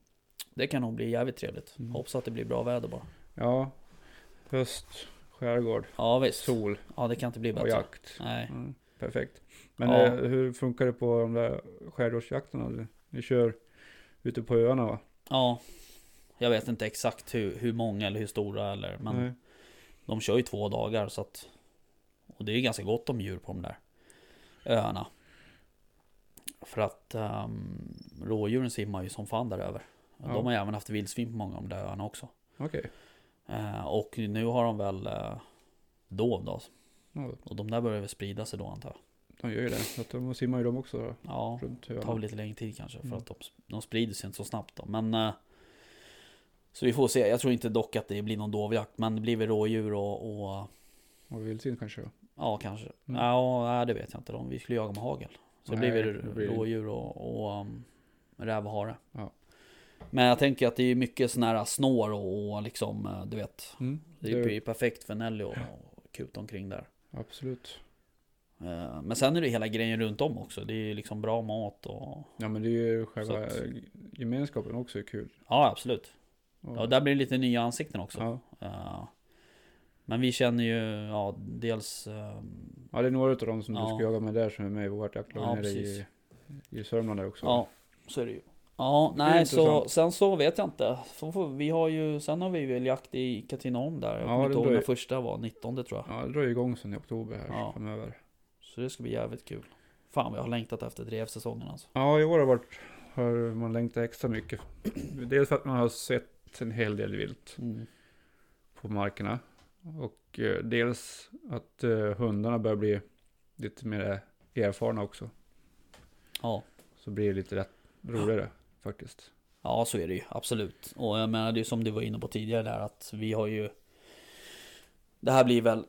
S1: det kan nog bli jävligt trevligt.
S2: Mm.
S1: Hoppas att det blir bra väder bara.
S2: ja. Höst, skärgård,
S1: Ja visst.
S2: sol
S1: Ja, det kan inte bli
S2: och
S1: bättre.
S2: jakt.
S1: Nej.
S2: Mm, perfekt. Men
S1: Ja.
S2: eh, hur funkar det på de där skärgårdsjakterna? Ni kör ute på öarna va?
S1: Ja. Jag vet inte exakt hur, hur många eller hur stora eller men
S2: Nej.
S1: de kör ju två dagar så att Och det är ju ganska gott om djur på de där öarna. För att um, rådjuren simmar ju som fan där över.
S2: Ja.
S1: De har ju även haft vildsvin på många av de där öarna också.
S2: Okej.
S1: Eh, och nu har de väl eh, dov då.
S2: Ja,
S1: Och de där börjar väl sprida sig då antar jag.
S2: de gör ju det. Så att de simmar ju de också då,
S1: Ja, det
S2: runt
S1: tar väl
S2: öarna.
S1: lite längre tid kanske. För
S2: Mm.
S1: att de, de sprider sig inte så snabbt då. Men eh, Så vi får se. Jag tror inte dock att det blir någon dovjakt. Men det blir väl rådjur och, och
S2: Och vildsvin kanske. ja.
S1: Ja, kanske.
S2: Mm.
S1: Ja, nej, det vet jag inte. De, vi skulle jaga med hagel. Så
S2: Nej,
S1: det blir
S2: det
S1: väl
S2: blir-
S1: rådjur och, och um, räv och hare.
S2: Ja.
S1: Men jag tänker att det är mycket sådana här snår och, och liksom, eh, du vet.
S2: Mm.
S1: Det är
S2: det-
S1: ju perfekt för Nelly och, och kuta omkring där.
S2: Absolut.
S1: Eh, Men sen är det hela grejen runt om också. Det är ju liksom bra mat och...
S2: Ja men det är ju själva
S1: Så
S2: gemenskapen också är kul.
S1: Ja, absolut.
S2: Och,
S1: Ja, där blir det lite nya ansikten också.
S2: ja.
S1: Eh, Men vi känner ju, ja, dels... eh,
S2: ja, det är några av dem som du
S1: Ja.
S2: ska jaga med där som är med i vårt jaktlag
S1: Ja,
S2: nere i, i Sörmland där också.
S1: Ja, så är det ju. Ja,
S2: Det är
S1: nej, så,
S2: intressant.
S1: sen så vet jag inte. Så får- Vi har ju, sen har vi väl jakt i Katrineholm där. Jag
S2: Ja,
S1: kommer
S2: det
S1: inte ihåg
S2: drar
S1: när
S2: ju-
S1: första var, 19 tror jag.
S2: Ja, det drar ju igång sen i oktober här
S1: Ja.
S2: framöver.
S1: Så det ska bli jävligt kul. Fan vad jag har längtat efter drevsäsongen alltså.
S2: Ja, i år har, varit, har man längtat extra mycket. Dels för att man har sett en hel del vilt
S1: Mm.
S2: på markerna. Och eh, dels att eh, hundarna börjar bli lite mer erfarna också.
S1: Ja.
S2: Så blir det lite rätt roligare faktiskt.
S1: ja, så är det ju absolut. Och jag menar det är ju som du var inne på tidigare där att vi har ju Det här blir väl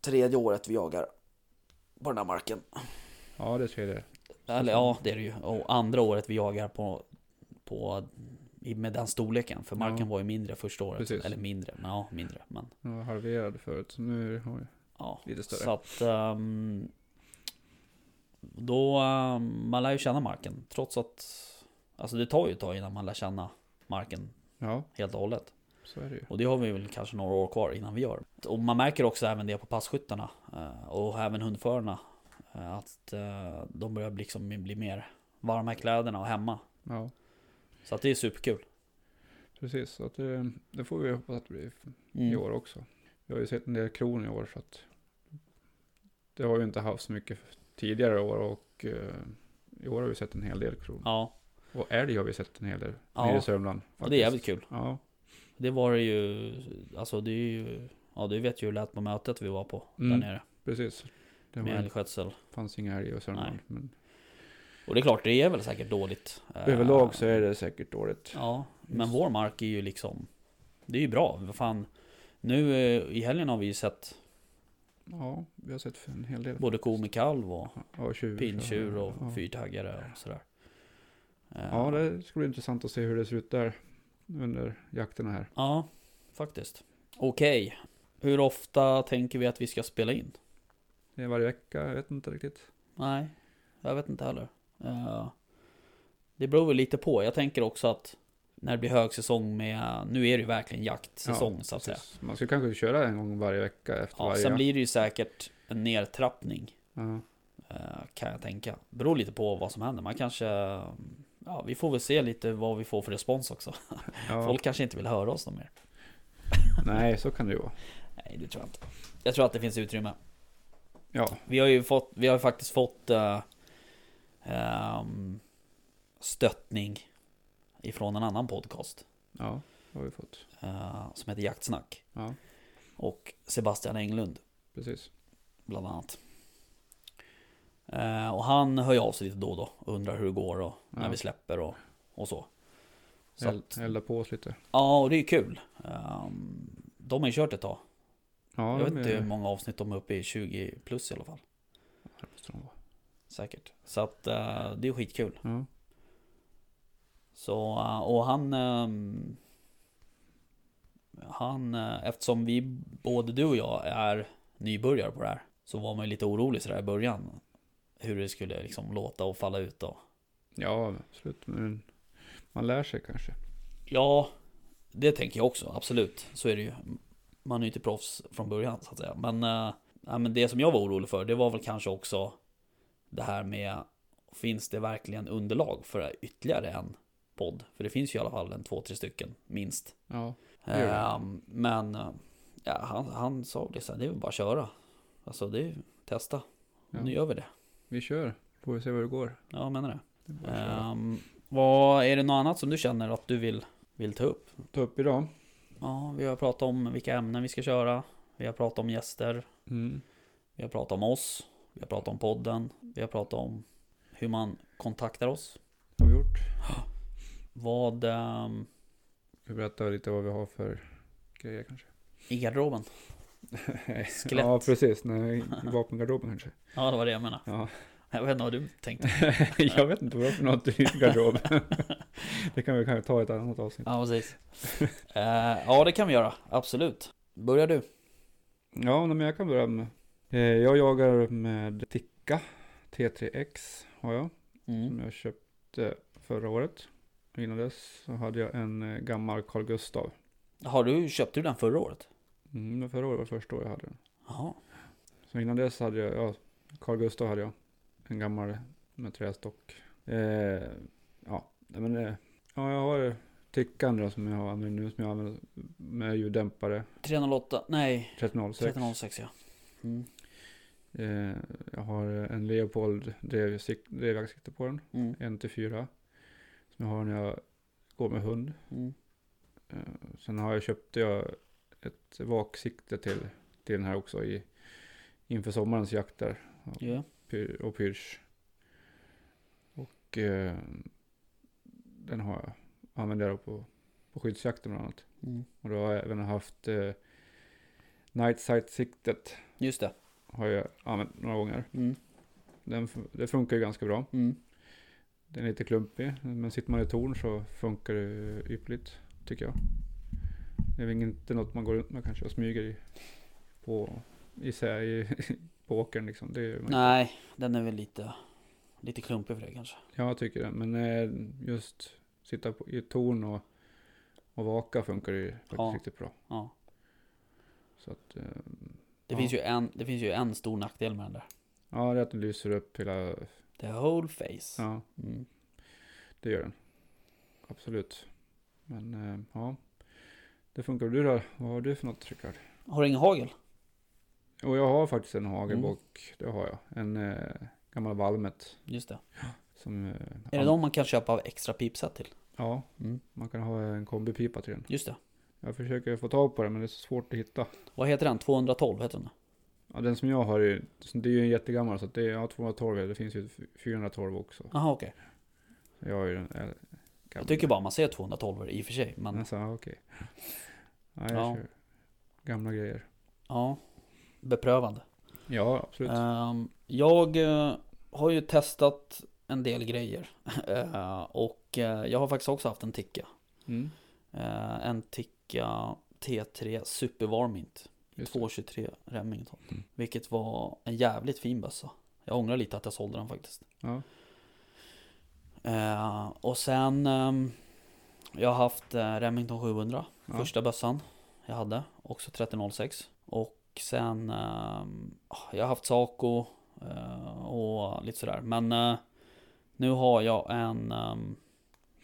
S1: tredje året vi jagar på den här marken.
S2: Ja, det ser det.
S1: Eller ja, det är det ju. Och andra året vi jagar på, på i- med den storleken. För marken
S2: Ja.
S1: var ju mindre första året.
S2: Precis.
S1: Eller mindre, men ja, mindre. Men,
S2: Den var halverad förut, så nu har vi
S1: ja.
S2: lite större.
S1: Så att ehm, då, ehm, man lär ju känna marken. Trots att, alltså det tar ju ett tag innan man lär känna marken
S2: Ja,
S1: helt och hållet.
S2: så är det ju.
S1: Och det har vi väl kanske några år kvar innan vi gör. Och man märker också även det på passkyttarna eh, och även hundförarna. eh, Att eh, de börjar liksom bli mer varma i kläderna och hemma.
S2: Ja,
S1: Så att det är superkul.
S2: precis. Så att det, det får vi hoppas att det blir
S1: Mm.
S2: i år också. Vi har ju sett en del kron i år så att det har vi inte haft så mycket tidigare år och eh, i år har vi sett en hel del kron.
S1: Ja,
S2: Och älg har vi sett en hel del
S1: Ja.
S2: nere i Sörmland.
S1: och det är jävligt kul.
S2: Ja,
S1: Det var det ju, alltså det är ju, ja du vet ju hur det lät på mötet vi var på
S2: Mm.
S1: där nere.
S2: precis. Det var,
S1: Med älgskötsel.
S2: fanns inga älgar i Sörmland.
S1: Nej.
S2: Men
S1: Och det är klart, det är väl säkert dåligt. eh,
S2: överlag så är det säkert dåligt.
S1: Ja, men
S2: Just.
S1: vår mark är ju liksom, det är ju bra. Vad fan, nu eh, i helgen har vi ju sett
S2: Ja, vi har sett en hel del.
S1: både ko med kalv och
S2: Ja, tjur.
S1: Pinntjur och
S2: ja.
S1: fyrtaggare och sådär. Eh,
S2: Ja, det ska bli intressant att se hur det ser ut där under jakterna här.
S1: ja, faktiskt. Okej, hur ofta tänker vi att vi ska spela in?
S2: Det är varje vecka, jag vet inte riktigt.
S1: Nej, jag vet inte heller. Eh, det beror väl lite på. Jag tänker också att när det blir högsäsong med, nu är det ju verkligen jaktsäsong
S2: Ja,
S1: så att säga.
S2: Precis. Man ska kanske köra en gång varje vecka efter
S1: Ja,
S2: varje
S1: sen
S2: jakt.
S1: blir det ju säkert en nedtrappning
S2: Ja,
S1: eh, kan jag tänka. Beror lite på vad som händer. Man kanske, ja vi får väl se lite vad vi får för respons också.
S2: ja.
S1: Folk kanske inte vill höra oss någon mer.
S2: Nej, så kan det ju vara.
S1: Nej, det tror jag inte. Jag tror att det finns utrymme.
S2: Ja,
S1: Vi har ju fått, vi har ju faktiskt fått eh, ehm, stöttning ifrån en annan podcast
S2: ja, det har vi fått.
S1: eh, som heter Jaktsnack
S2: Ja,
S1: och Sebastian Englund
S2: precis.
S1: bland annat. Eh, och han hör ju av sig lite då och då och undrar hur det går och när
S2: Ja.
S1: vi släpper och, och så. så
S2: Eld,
S1: att,
S2: elda på oss lite.
S1: ja, och det är kul. Ehm, de har ju kört ett tag.
S2: Ja,
S1: Jag vet
S2: de
S1: inte
S2: är-
S1: hur många avsnitt de är uppe i, 20 plus i alla fall.
S2: det måste de vara.
S1: Säkert. Så att eh, det är skitkul.
S2: Ja.
S1: Så, eh, och han... ehm, han, eh, eftersom vi, både du och jag, är nybörjare på det här. Så var man ju lite orolig sådär i början. Hur det skulle liksom låta och falla ut då.
S2: ja, absolut. Men man lär sig kanske.
S1: Ja, det tänker jag också, absolut. Så är det ju. Man är ju inte proffs från början så att säga. Men, eh, ja, men det som jag var orolig för, det var väl kanske också det här med Finns det verkligen underlag för ytterligare en podd? För det finns ju i alla fall en två, tre stycken, minst.
S2: Ja, Det gör det.
S1: Ehm, men eh, ja, han, han sa det så här, det är väl bara att köra. Alltså det är ju testa.
S2: Ja.
S1: Nu gör vi det.
S2: vi kör. Får vi se vad det går.
S1: Ja, jag menar det.
S2: Det är bara att köra.
S1: Ehm, vad, är det något annat som du känner att du vill, vill ta upp?
S2: Ta upp idag.
S1: Ja, vi har pratat om vilka ämnen vi ska köra. Vi har pratat om gäster.
S2: Mm.
S1: Vi har pratat om oss. Vi har pratat om podden. Vi har pratat om hur man kontaktar oss.
S2: Det har vi gjort.
S1: Vad ehm,
S2: Vi berättar lite vad vi har för grejer kanske.
S1: i garderoben? Skelett.
S2: ja, precis. Nej, i vapengarderoben kanske.
S1: Ja, det var det jag menade.
S2: Ja.
S1: Jag vet inte vad du tänkte.
S2: jag vet inte vad jag har för något i garderoben. det kan vi kanske ta i ett annat avsnitt.
S1: Ja, precis. Eh, ja, det kan vi göra. Absolut. Börjar du?
S2: Ja, nej, men jag kan börja med. Eh, Jag jagar med Tikka T3X har jag. Som
S1: Mm.
S2: jag köpte förra året. Innan dess så hade jag en eh, gammal Carl Gustav.
S1: Har du, köpte du den förra året?
S2: Mm, men förra året var första året jag hade den.
S1: Jaha.
S2: Så innan dess hade jag, ja, Carl Gustav hade jag. En gammal med trästock. Eh, ja, nej, men eh, ja, jag har Tickan då som jag har använt nu som jag använder med ljuddämpare.
S1: 308, nej,
S2: 1306.
S1: 1306 ja. Mm.
S2: Eh, jag har en Leopold drevsik- drevjaktsikte på den.
S1: Mm.
S2: 1-4. Som jag har när jag går med hund.
S1: Mm.
S2: Eh, Sen har jag köpte jag ett vaksikte till, till den här också i, inför sommarens jakter
S1: Ja.
S2: pyr- och pyrsch. Och eh, den har jag, använder jag på, på skyddsjakten bland annat.
S1: Mm.
S2: Och då har jag även haft eh, night sight siktet
S1: Just det.
S2: har jag använt några gånger.
S1: Mm.
S2: Den, fun- det funkar ju ganska bra.
S1: Mm.
S2: Den är lite klumpig, men sitter man i torn så funkar det ypperligt, tycker jag. Det är väl inte något man går runt med kanske och smyger i, på, i, sä- i, på åkern liksom. Det är,
S1: Nej, den är väl lite, lite klumpig för det kanske.
S2: Jag tycker det, men eh, just sitta på, i torn och, och vaka funkar det ju faktiskt
S1: Ja.
S2: riktigt bra.
S1: Ja.
S2: Så att, eh,
S1: Det,
S2: Ja.
S1: finns ju en, det finns ju en stor nackdel med den där.
S2: ja, det är att den lyser upp hela,
S1: The whole face.
S2: ja,
S1: Mm.
S2: det gör den. Absolut. Men eh, ja, det funkar. Du då? Vad har du för något, Rickard?
S1: Har du ingen hagel?
S2: Och jag har faktiskt en hagelbock,
S1: Mm.
S2: det har jag. En eh, gammal Valmet.
S1: Just det.
S2: Som, eh,
S1: Är det de man kan köpa extra pipset till?
S2: Ja,
S1: Mm.
S2: man kan ha en kombipipa till den.
S1: Just det.
S2: Jag försöker få tag på den men det är så svårt att hitta.
S1: Vad heter den? 212 heter den.
S2: Ja, den som jag har, är, det är ju en jättegammal så att det är ja, 212, det finns ju 412 också.
S1: Jaha okej.
S2: Jag har ju den äldre.
S1: Jag tycker bara man ser 212 i och för sig. Men
S2: Alltså, ja, okej. Ja, jag
S1: Ja.
S2: kör gamla grejer.
S1: ja, beprövande.
S2: Ja, absolut.
S1: Ehm, jag eh, har ju testat en del grejer. Eh, och eh, jag har faktiskt också haft en ticka.
S2: Mm,
S1: Eh, en Tikka T3 Super Warmint.
S2: just det.
S1: 223 Remington.
S2: Mm.
S1: Vilket var en jävligt fin bössa. Jag ångrar lite att jag sålde den faktiskt.
S2: Ja.
S1: Eh, och sen ehm, Jag har haft eh, Remington 700.
S2: Ja.
S1: Första bössan jag hade. Också 3006. Och sen ehm, Jag har haft Saco. eh, och lite sådär. Men eh, Nu har jag en um,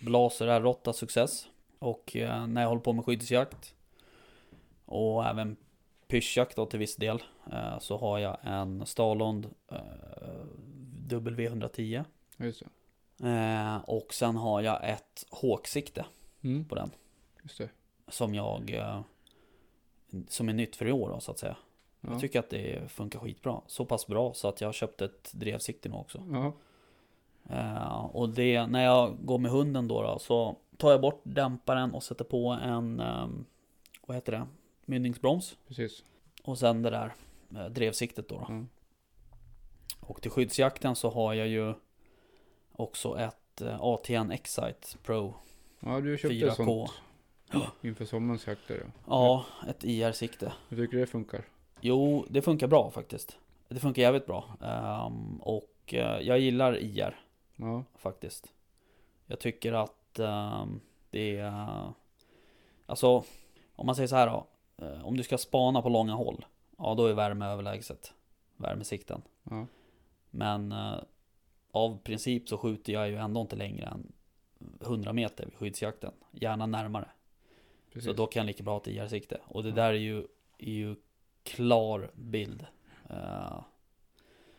S1: Blaser R8 Success. Och eh, när jag håller på med skyddsjakt. Och även pyschjakt då till viss del. eh, så har jag en Stalond eh, W110.
S2: ja, just det.
S1: Eh, och sen har jag ett håksikte
S2: Mm,
S1: på den.
S2: just det.
S1: Som jag... Eh, som är nytt för i år då, så att säga.
S2: Ja.
S1: Jag tycker att det funkar skitbra. Så pass bra så att jag köpte ett drevsikte nu också.
S2: ja,
S1: Eh, och det, när jag går med hunden då, då så tar jag bort dämparen och sätter på en, eh, vad heter det, mynningsbroms.
S2: Precis.
S1: Och sen det där eh, drevsiktet då. då.
S2: Mm.
S1: Och till skyddsjakten så har jag ju också ett eh, ATN Excite Pro
S2: Ja, du köpte ett
S1: 4K.
S2: sånt inför sommarens jakter. Ja.
S1: Ja, ett IR-sikte.
S2: Hur tycker du det funkar?
S1: Jo, det funkar bra faktiskt. Det funkar jävligt bra. Ehm, och eh, jag gillar IR
S2: Ja,
S1: faktiskt. Jag tycker att ehm, det är... Alltså, om man säger så här då. eh, Om du ska spana på långa håll. Ja, då är värme överlägset. Värmesikten.
S2: ja.
S1: Men eh, av princip så skjuter jag ju ändå inte längre än 100 meter vid skyddsjakten. Gärna närmare.
S2: precis.
S1: Så då kan jag lika bra ha ett IR-sikte. Och det
S2: Ja.
S1: där är ju, är ju klar bild. Eh,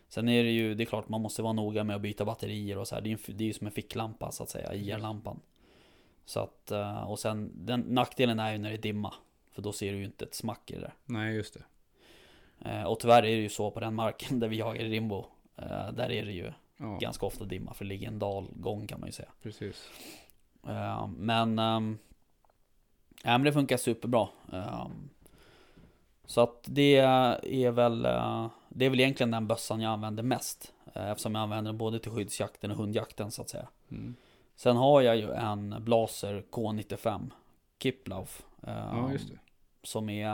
S1: sen är det ju, det är klart man måste vara noga med att byta batterier och så här. Det är ju, en f- det är ju som en ficklampa så att säga, IR-lampan. Så att, eh, och sen den nackdelen är ju när det är dimma. För då ser du ju inte ett smack i det där.
S2: Nej, just det.
S1: Eh, och tyvärr är det ju så på den marken där vi jagar i Rimbo. Eh, där är det ju
S2: Ja,
S1: ganska ofta dimma för det ligger en dalgång kan man ju säga.
S2: precis.
S1: Eh, men, ehm, ja, men det funkar superbra. Ehm, så att det är väl eh, Det är väl egentligen den bössan jag använder mest. eh, eftersom jag använder den både till skyddsjakten och hundjakten så att säga.
S2: Mm.
S1: Sen har jag ju en Blaser K95 Kiplauf. ehm,
S2: Ja, just det.
S1: Som är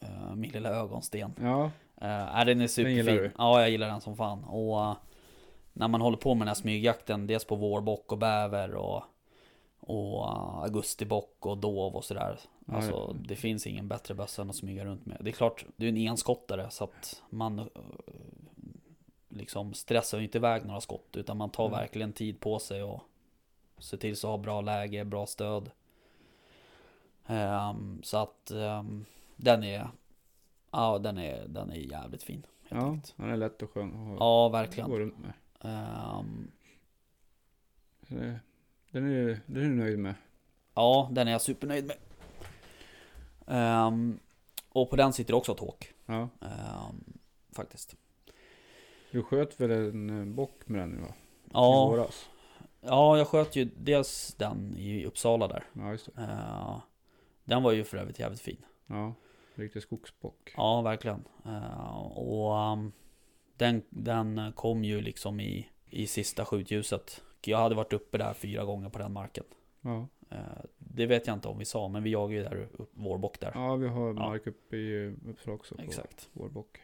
S1: eh, min lilla ögonsten.
S2: Ja,
S1: Uh, är den är
S2: Den
S1: superfin.
S2: gillar du?
S1: Ja, jag gillar den som fan. Och eh, när man håller på med den här smygjakten, dels på vårbock och bäver och, och eh, augustibock och dov och sådär.
S2: Ja,
S1: Alltså, det finns ingen bättre bössa än att smyga runt med. Det är klart, du är en enskottare så att man eh, liksom stressar ju inte iväg några skott utan man tar
S2: Mm.
S1: verkligen tid på sig och ser till så att ha bra läge, bra stöd. Ehm, så att ehm, den är Ja, den är, den är jävligt fin. Helt
S2: ja
S1: enkelt.
S2: den är lätt och skön att ha-
S1: ja
S2: gå
S1: verkligen.
S2: runt med.
S1: Ehm,
S2: Så det- Den är, den är du nöjd med.
S1: ja, den är jag supernöjd med. Ehm, och på den sitter också ett håk.
S2: Ja.
S1: Ehm, faktiskt.
S2: Du sköt väl en eh, bock med den nu va? I
S1: Ja,
S2: våras?
S1: ja, jag sköt ju dels den i Uppsala där.
S2: Ja, just det.
S1: Ehm, den var ju för övrigt jävligt fin.
S2: Ja, riktig skogsbock.
S1: Ja, verkligen. Ehm, och ehm, den, den kom ju liksom i, i sista skjutljuset. Jag hade varit uppe där fyra gånger på den marken.
S2: Ja,
S1: Eh, Det vet jag inte om vi sa, men vi jagar ju där upp, vårbock där.
S2: ja vi har mark uppe i eh, Uppsala också på
S1: Exakt.
S2: vår bock.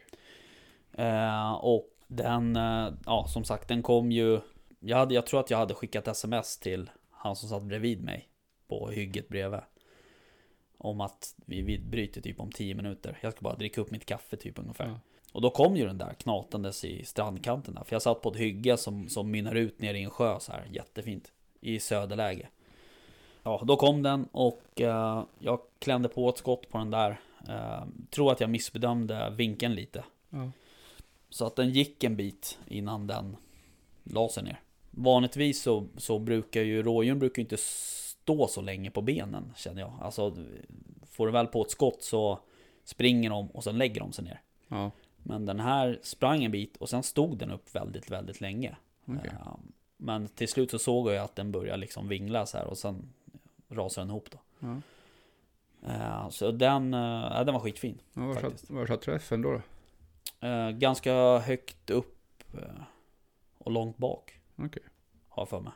S1: Eh, och den, eh, ja som sagt, den kom ju... Jag, hade, jag tror att jag hade skickat sms till han som satt bredvid mig på hygget bredvid. Om att vi, vi bryter typ om 10 minuter. Jag ska bara dricka upp mitt kaffe typ ungefär.
S2: Ja.
S1: Och då kom ju den där knatandes i strandkanten där. För jag satt på ett hygge som, som mynnar ut ner i en sjö så här jättefint. I söderläge. Ja, då kom den och eh, jag klämde på ett skott på den där. Eh, tror att jag missbedömde vinkeln lite.
S2: Ja.
S1: Så att den gick en bit innan den la sig ner. Vanligtvis så, så brukar ju rådjuren brukar ju inte stå så länge på benen känner jag. Alltså får du väl på ett skott så springer de och sen lägger de sig ner.
S2: Ja,
S1: Men den här sprang en bit och sen stod den upp väldigt, väldigt länge.
S2: okej.
S1: Eh, Men till slut så såg jag att den började liksom vingla så här och sen rasade den ihop då.
S2: Ja.
S1: Eh, Så den, eh, ja, den var skitfin.
S2: Ja, var,
S1: Faktiskt.
S2: satt, var satt träffen då? då?
S1: Eh, ganska högt upp eh, och långt bak.
S2: Okej.
S1: Har jag för mig.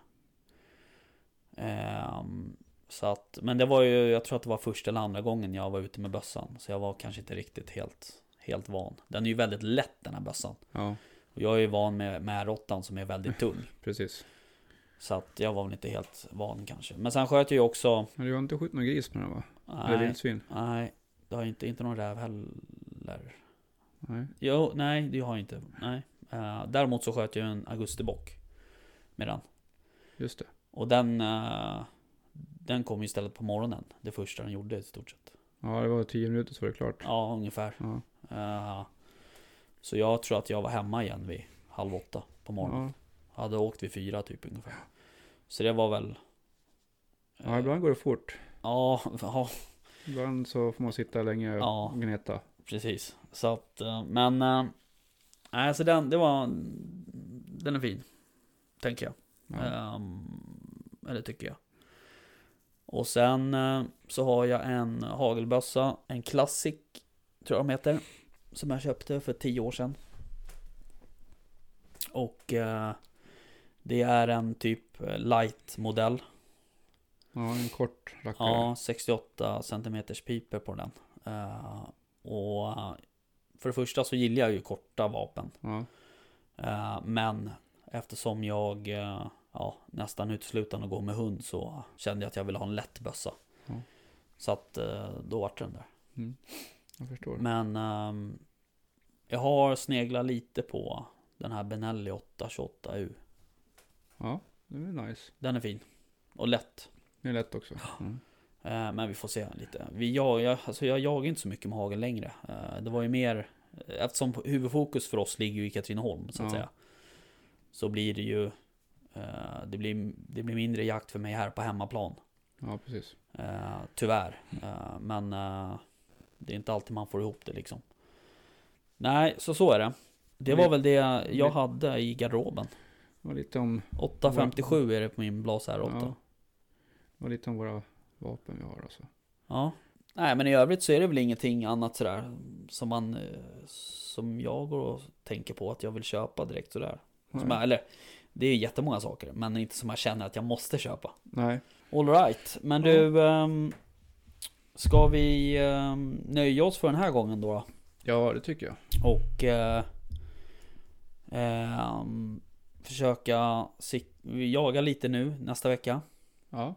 S1: Ehm, så att, men det var ju, jag tror att det var första eller andra gången jag var ute med bössan. Så jag var kanske inte riktigt helt, helt van. Den är ju väldigt lätt den här bössan.
S2: Ja,
S1: Och jag är ju van med, med råttan som är väldigt tung.
S2: precis.
S1: Så att jag var väl inte helt van kanske. Men sen sköt jag ju också...
S2: Men du har inte skjutit någon gris med den va? Eller
S1: Nej,
S2: vildsvin?
S1: nej det har ju inte, inte någon räv heller.
S2: Nej.
S1: Jo, nej det har jag inte. Nej. Eh, däremot så sköt jag en augustibock med den.
S2: Just det.
S1: Och den, eh, den kom ju istället på morgonen. Det första den gjorde i stort sett.
S2: Ja, det var tio minuter så var det klart.
S1: Ja, ungefär.
S2: Ja.
S1: Eh, så jag tror att jag var hemma igen vid halv åtta på morgonen.
S2: Ja.
S1: Hade åkt vid fyra typ ungefär. Så det var väl... eh,
S2: ja, ibland går det fort.
S1: Ja, ja,
S2: Ibland så får man sitta länge
S1: Ja.
S2: och gneta.
S1: precis. Så att, eh, men... eh, Nej, så den, det var... Den är fin. tänker jag.
S2: Ja.
S1: Ehm, eller tycker jag. Och sen eh, så har jag en hagelbössa, en Classic, tror jag de heter. Som jag köpte för tio år sedan. Och eh, det är en typ eh, light-modell.
S2: ja, en kort rackare.
S1: Ja, 68 cm piper på den. Eh, och eh, för det första så gillar jag ju korta vapen.
S2: Ja.
S1: Eh, men eftersom jag eh, ja, nästan uteslutande går med hund så kände jag att jag ville ha en lätt bössa.
S2: Ja.
S1: Så att eh, då vart det den där.
S2: Mm. Jag förstår.
S1: Men ehm, jag har sneglat lite på den här Benelli 828U.
S2: Ja, det är nice.
S1: Den är fin och lätt.
S2: Det är lätt också. Mm.
S1: Eh, Men vi får se lite. Vi, jag, jag, alltså jag jagar inte så mycket med hagel längre. Eh, Det var ju mer, eh, eftersom huvudfokus för oss ligger ju i Katrineholm så att
S2: Ja.
S1: säga. Så blir det ju, eh, det blir, det blir mindre jakt för mig här på hemmaplan.
S2: Ja, precis.
S1: Eh, Tyvärr. Eh, Men eh, det är inte alltid man får ihop det liksom. Nej, så så är det. Det var
S2: Vi-
S1: väl det jag
S2: vi-
S1: hade i garderoben.
S2: Och lite om,
S1: 857 är det på min Blas R8.
S2: ja, och lite om våra vapen vi har. Alltså.
S1: Ja. Nej men i övrigt så är det väl ingenting annat sådär som man eh, som jag går och tänker på att jag vill köpa direkt sådär. Som jag,
S2: Nej.
S1: eller det är ju jättemånga saker men inte som jag känner att jag måste köpa.
S2: Nej.
S1: All right, men
S2: Ja.
S1: du ehm, Ska vi ehm, nöja oss för den här gången då? då?
S2: Ja, det tycker jag.
S1: Och eh, ehm, försöka sik- jaga lite nu nästa vecka.
S2: Ja.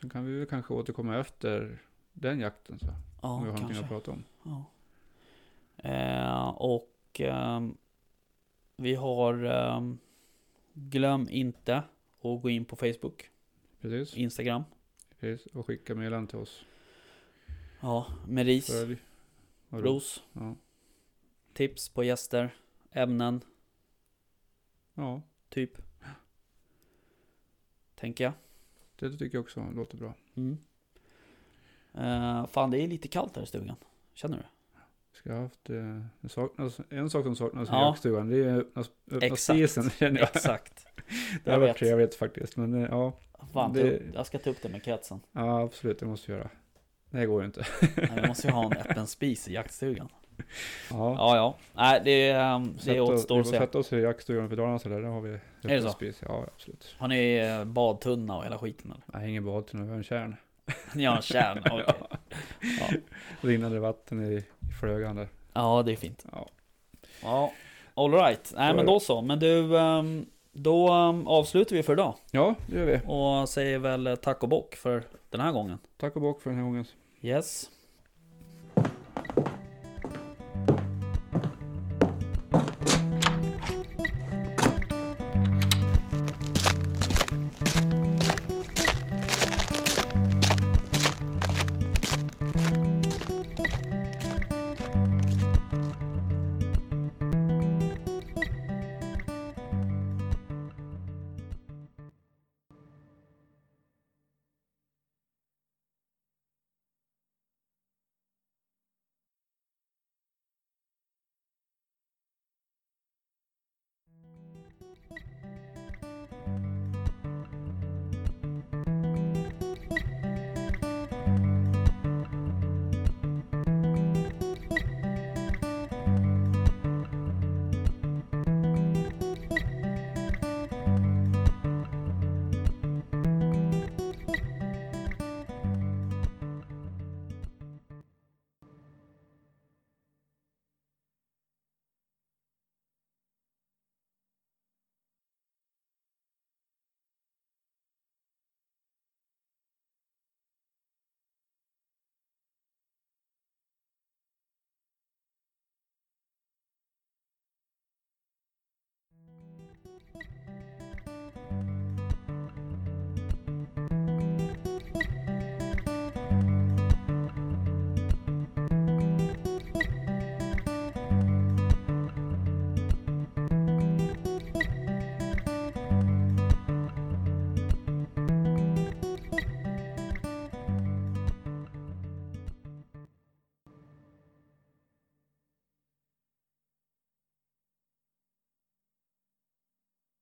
S2: Sen kan vi väl kanske återkomma efter den jakten. Så. om
S1: Ja,
S2: vi har någonting
S1: kanske.
S2: att prata om.
S1: Ja. Eh, och ehm, vi har ehm, glöm inte att gå in på Facebook,
S2: Precis.
S1: Instagram.
S2: precis. Och skicka meddelanden till oss.
S1: Ja, med ris,
S2: Följ. och ro.
S1: ros,
S2: Ja.
S1: tips på gäster, ämnen,
S2: ja,
S1: typ. Tänker jag.
S2: det tycker jag också låter bra.
S1: Mm. Eh, fan, det är lite kallt här i stugan. Känner du?
S2: Ska jag ha haft, eh, det saknas, en sak som saknas
S1: Ja.
S2: i jaktstugan, det är öppna, öppna
S1: Exakt.
S2: spisen känner jag.
S1: Exakt.
S2: Det har
S1: jag vet.
S2: varit trevligt faktiskt, men eh, ja,
S1: Fan, ta
S2: Det-
S1: upp- jag ska ta upp det med kretsen.
S2: ja absolut, det måste jag göra. Det går ju inte.
S1: Nej, vi måste ju ha en öppen spis i jaktstugan.
S2: Ja,
S1: Ja, ja. Nej, det, ehm, det
S2: Sätta-
S1: återstår
S2: vi
S1: att
S2: får
S1: se.
S2: sätta oss i jaktstugan för Dalarna så där, där har vi öppen
S1: så?
S2: spis. Ja, absolut.
S1: Har ni eh, badtunna och hela skiten eller?
S2: Jag hänger bad till en kärn.
S1: Ni har en kärn? Okej. Ja.
S2: Rinnande vatten i, i flögan där.
S1: ja, det är fint.
S2: Ja.
S1: Ja, alright. Nej men då så. Men du, ehm, då ehm, avslutar vi för idag.
S2: ja, det gör vi.
S1: Och säger väl eh, tack och bock för den här gången.
S2: Tack och bock för den här gången.
S1: Yes.